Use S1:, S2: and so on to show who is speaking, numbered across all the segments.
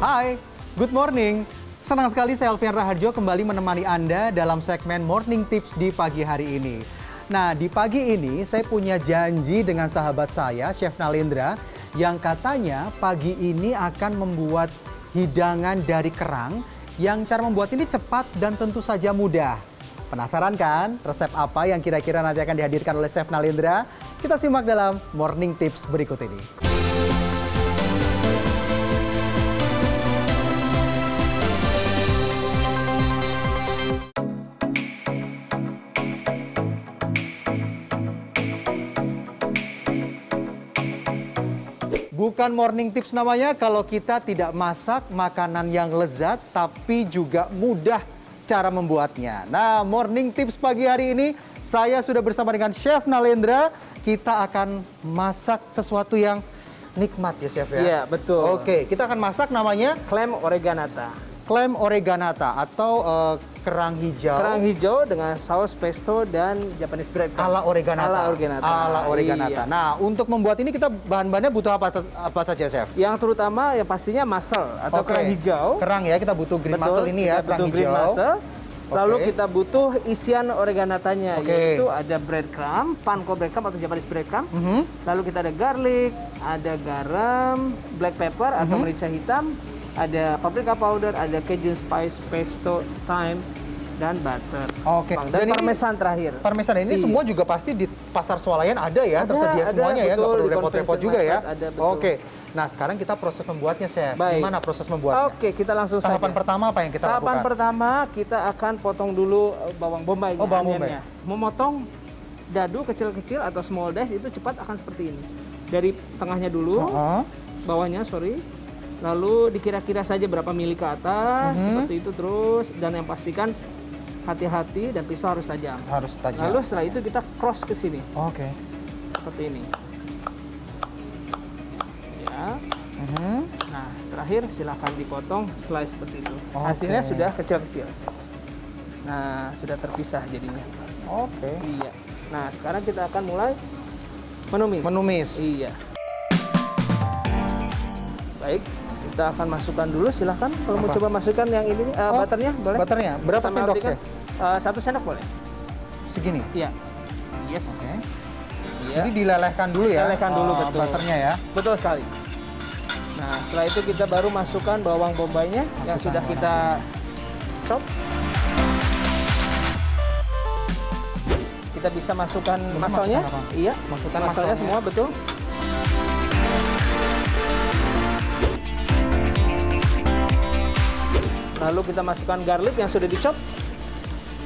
S1: Hai, good morning. Senang sekali saya Alfian Raharjo kembali menemani Anda dalam segmen Morning Tips di pagi hari ini. Nah, di pagi ini saya punya janji dengan sahabat saya, Chef Nalendra, yang katanya pagi ini akan membuat hidangan dari kerang yang cara membuat ini cepat dan tentu saja mudah. Penasaran kan resep apa yang kira-kira nanti akan dihadirkan oleh Chef Nalendra? Kita simak dalam Morning Tips berikut ini. Bukan morning tips namanya kalau kita tidak masak makanan yang lezat tapi juga mudah cara membuatnya. Nah, morning tips pagi hari ini saya sudah bersama dengan Chef Nalendra. Kita akan masak sesuatu yang nikmat ya Chef ya.
S2: Iya, betul.
S1: Oke, kita akan masak namanya
S2: Klaim oreganata.
S1: clam oreganata atau eh, kerang hijau.
S2: Kerang hijau dengan saus pesto dan Japanese bread. Kak.
S1: ala oreganata.
S2: Ala oreganata.
S1: Ala oreganata.
S2: Iya.
S1: Nah, untuk membuat ini kita bahan-bahannya butuh apa apa saja, Chef?
S2: Yang terutama yang pastinya masal atau
S1: Oke.
S2: kerang hijau.
S1: Kerang ya, kita butuh green
S2: Betul,
S1: mussel ini ya,
S2: kita
S1: kerang
S2: butuh
S1: hijau.
S2: green mussel. Lalu
S1: Oke.
S2: kita butuh isian oreganatanya
S1: Oke.
S2: yaitu ada breadcrumb, panko breadcrumb atau Japanese breadcrumb.
S1: Mhm.
S2: Lalu kita ada garlic, ada garam, black pepper atau
S1: Mhm.
S2: merica hitam, ada paprika powder, ada Cajun spice, pesto, thyme, dan butter.
S1: Oke.
S2: Bang,
S1: Dan
S2: Dan,
S1: ini-
S2: parmesan terakhir.
S1: Parmesan ini
S2: Iya.
S1: semua juga pasti di pasar swalayan ada ya,
S2: Ada,
S1: tersedia
S2: ada,
S1: semuanya ya, nggak
S2: betul,
S1: perlu
S2: di
S1: repot-repot
S2: convention
S1: juga ya.
S2: market ada, betul.
S1: Oke. Nah, sekarang kita proses membuatnya, Chef.
S2: Baik.
S1: Gimana proses membuatnya?
S2: Oke, kita langsung
S1: Tahapan
S2: saja.
S1: pertama apa yang kita
S2: Tahapan
S1: lakukan?
S2: pertama kita akan potong dulu eh, bawang bombay.
S1: Oh, bawang bombay.
S2: Memotong dadu kecil-kecil atau small dash itu cepat akan seperti ini. Dari tengahnya dulu,
S1: Heeh.
S2: bawahnya sorry. Lalu dikira-kira saja berapa mili ke atas,
S1: Mhm.
S2: seperti itu terus. Dan yang pastikan hati-hati dan pisau harus tajam.
S1: Harus tajam.
S2: Lalu setelah itu kita cross ke sini,
S1: Oke.
S2: seperti ini. Ya.
S1: Mhm.
S2: Nah, terakhir silahkan dipotong slice seperti itu.
S1: Oke.
S2: Hasilnya sudah kecil-kecil. Nah, sudah terpisah jadinya.
S1: Oke.
S2: Iya. Nah, sekarang kita akan mulai menumis.
S1: Menumis.
S2: Iya. Baik, kita akan masukkan dulu. Silahkan kalau mau
S1: Apa?
S2: coba masukkan yang ini, eh,
S1: Oh,
S2: butternya boleh.
S1: butternya. Berapa
S2: Kita
S1: sendok,
S2: melting,
S1: Chef?
S2: eh, satu sendok boleh.
S1: Segini.
S2: Iya. Yes.
S1: Oke.
S2: Iya.
S1: Jadi dilelehkan dulu ya.
S2: Lelehkan Ya. dulu,
S1: eh,
S2: betul.
S1: Butternya ya.
S2: Betul sekali. Nah, setelah itu kita baru masukkan bawang bombaynya yang
S1: Masukkan bawang
S2: sudah kita chop. Kita bisa masukkan
S1: Boleh
S2: masalnya.
S1: masukkan apa?
S2: Iya,
S1: Masukkan
S2: masukkan masalnya
S1: masalnya.
S2: semua betul. Lalu kita masukkan garlic yang sudah dicop.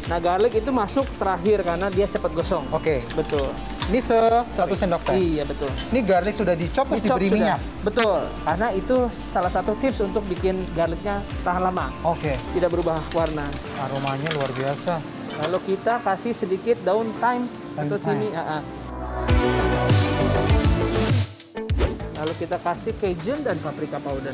S2: Nah, garlic itu masuk terakhir karena dia cepat gosong.
S1: Oke.
S2: Betul.
S1: Ini se satu sendok teh.
S2: Iya, betul.
S1: Ini garlic sudah dicop terus
S2: Dicop
S1: diberi
S2: sudah.
S1: minyak.
S2: Betul, karena itu salah satu tips untuk bikin garlicnya tahan lama,
S1: Oke.
S2: tidak berubah warna.
S1: Aromanya luar biasa.
S2: Lalu kita kasih sedikit daun thyme
S1: Daun
S2: atau
S1: thyme.
S2: timi. ah, ah. Lalu kita kasih Cajun dan paprika powder.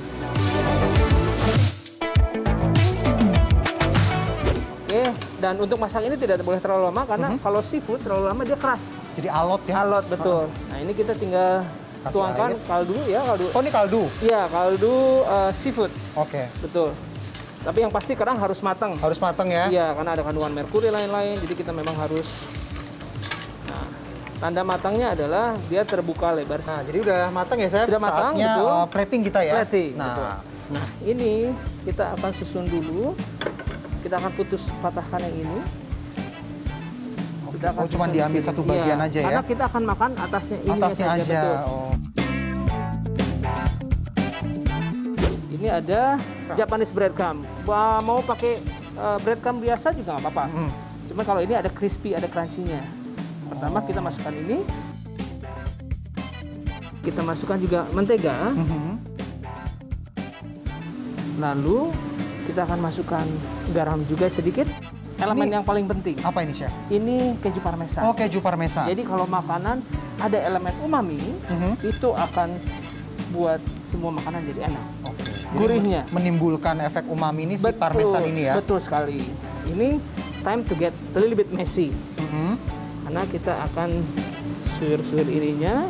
S2: Oke, dan untuk masak ini tidak boleh terlalu lama karena kalau seafood terlalu lama dia keras.
S1: Jadi alot Mhm. ya.
S2: Alot betul. Nah, ini kita tinggal
S1: Kasih
S2: tuangkan
S1: air.
S2: kaldu ya, kaldu
S1: Oh ini kaldu.
S2: Iya, kaldu eh, seafood,
S1: Oke.
S2: betul. Tapi yang pasti kerang harus matang.
S1: Harus mateng ya.
S2: Iya, karena ada kandungan merkuri lain-lain, jadi kita memang harus. Nah, tanda matangnya adalah dia terbuka lebar.
S1: Nah jadi udah mateng ya saya.
S2: Sudah matang,
S1: Saatnya
S2: betul.
S1: uh, plating kita ya.
S2: Plating,
S1: Nah.
S2: betul. Nah, ini kita akan susun dulu. Kita akan putus patahkan yang ini.
S1: oke.
S2: Kita akan
S1: Oh cuma
S2: susun di
S1: diambil
S2: sini.
S1: satu
S2: Iya,
S1: bagian aja ya.
S2: Karena kita akan makan atasnya ini
S1: Atasnya
S2: saja.
S1: aja.
S2: betul.
S1: Oh.
S2: Ini ada
S1: Nah.
S2: Japanese breadcrumb. Wah, Mau pakai eh, breadcrumb biasa juga nggak apa-apa.
S1: Mm.
S2: Cuman kalau ini ada crispy, ada crunchy-nya. Pertama kita masukkan ini. Kita masukkan juga mentega.
S1: Mhm.
S2: Lalu kita akan masukkan garam juga sedikit. Elemen
S1: Ini-
S2: yang paling penting.
S1: Apa ini chef?
S2: Ini keju parmesan.
S1: Oh keju parmesan.
S2: Nah. Jadi kalau makanan ada elemen umami,
S1: Mhm.
S2: itu akan buat semua makanan jadi enak.
S1: Oke. Jadi
S2: gurihnya.
S1: Menimbulkan efek umami ini si parmesan ini ya.
S2: Betul sekali. Ini time to get a little bit messy.
S1: Mhm.
S2: karena kita akan suir-suir ininya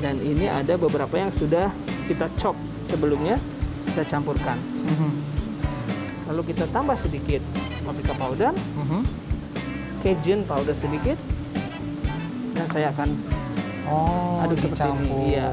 S2: dan ini ada beberapa yang sudah kita chop sebelumnya, kita campurkan.
S1: Mhm,
S2: Lalu kita tambah sedikit paprika powder,
S1: mhm.
S2: Cajun powder sedikit, dan saya akan
S1: Oh,
S2: Aduk seperti ini,
S1: dicampur.
S2: iya.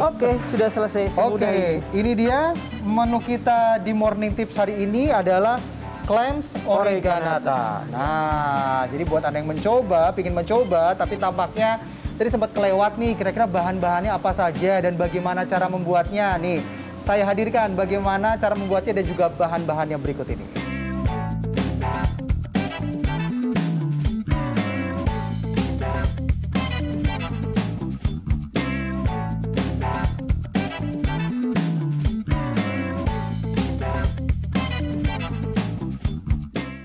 S2: Oke, sudah selesai
S1: Oke,
S2: semudah ini.
S1: ini dia menu kita di Morning Tips hari ini adalah clams oreganata. Nah, jadi buat Anda yang mencoba, pingin mencoba tapi tampaknya tadi sempat kelewat nih kira-kira bahan-bahannya apa saja dan bagaimana cara membuatnya nih. Saya hadirkan bagaimana cara membuatnya dan juga bahan-bahannya berikut ini.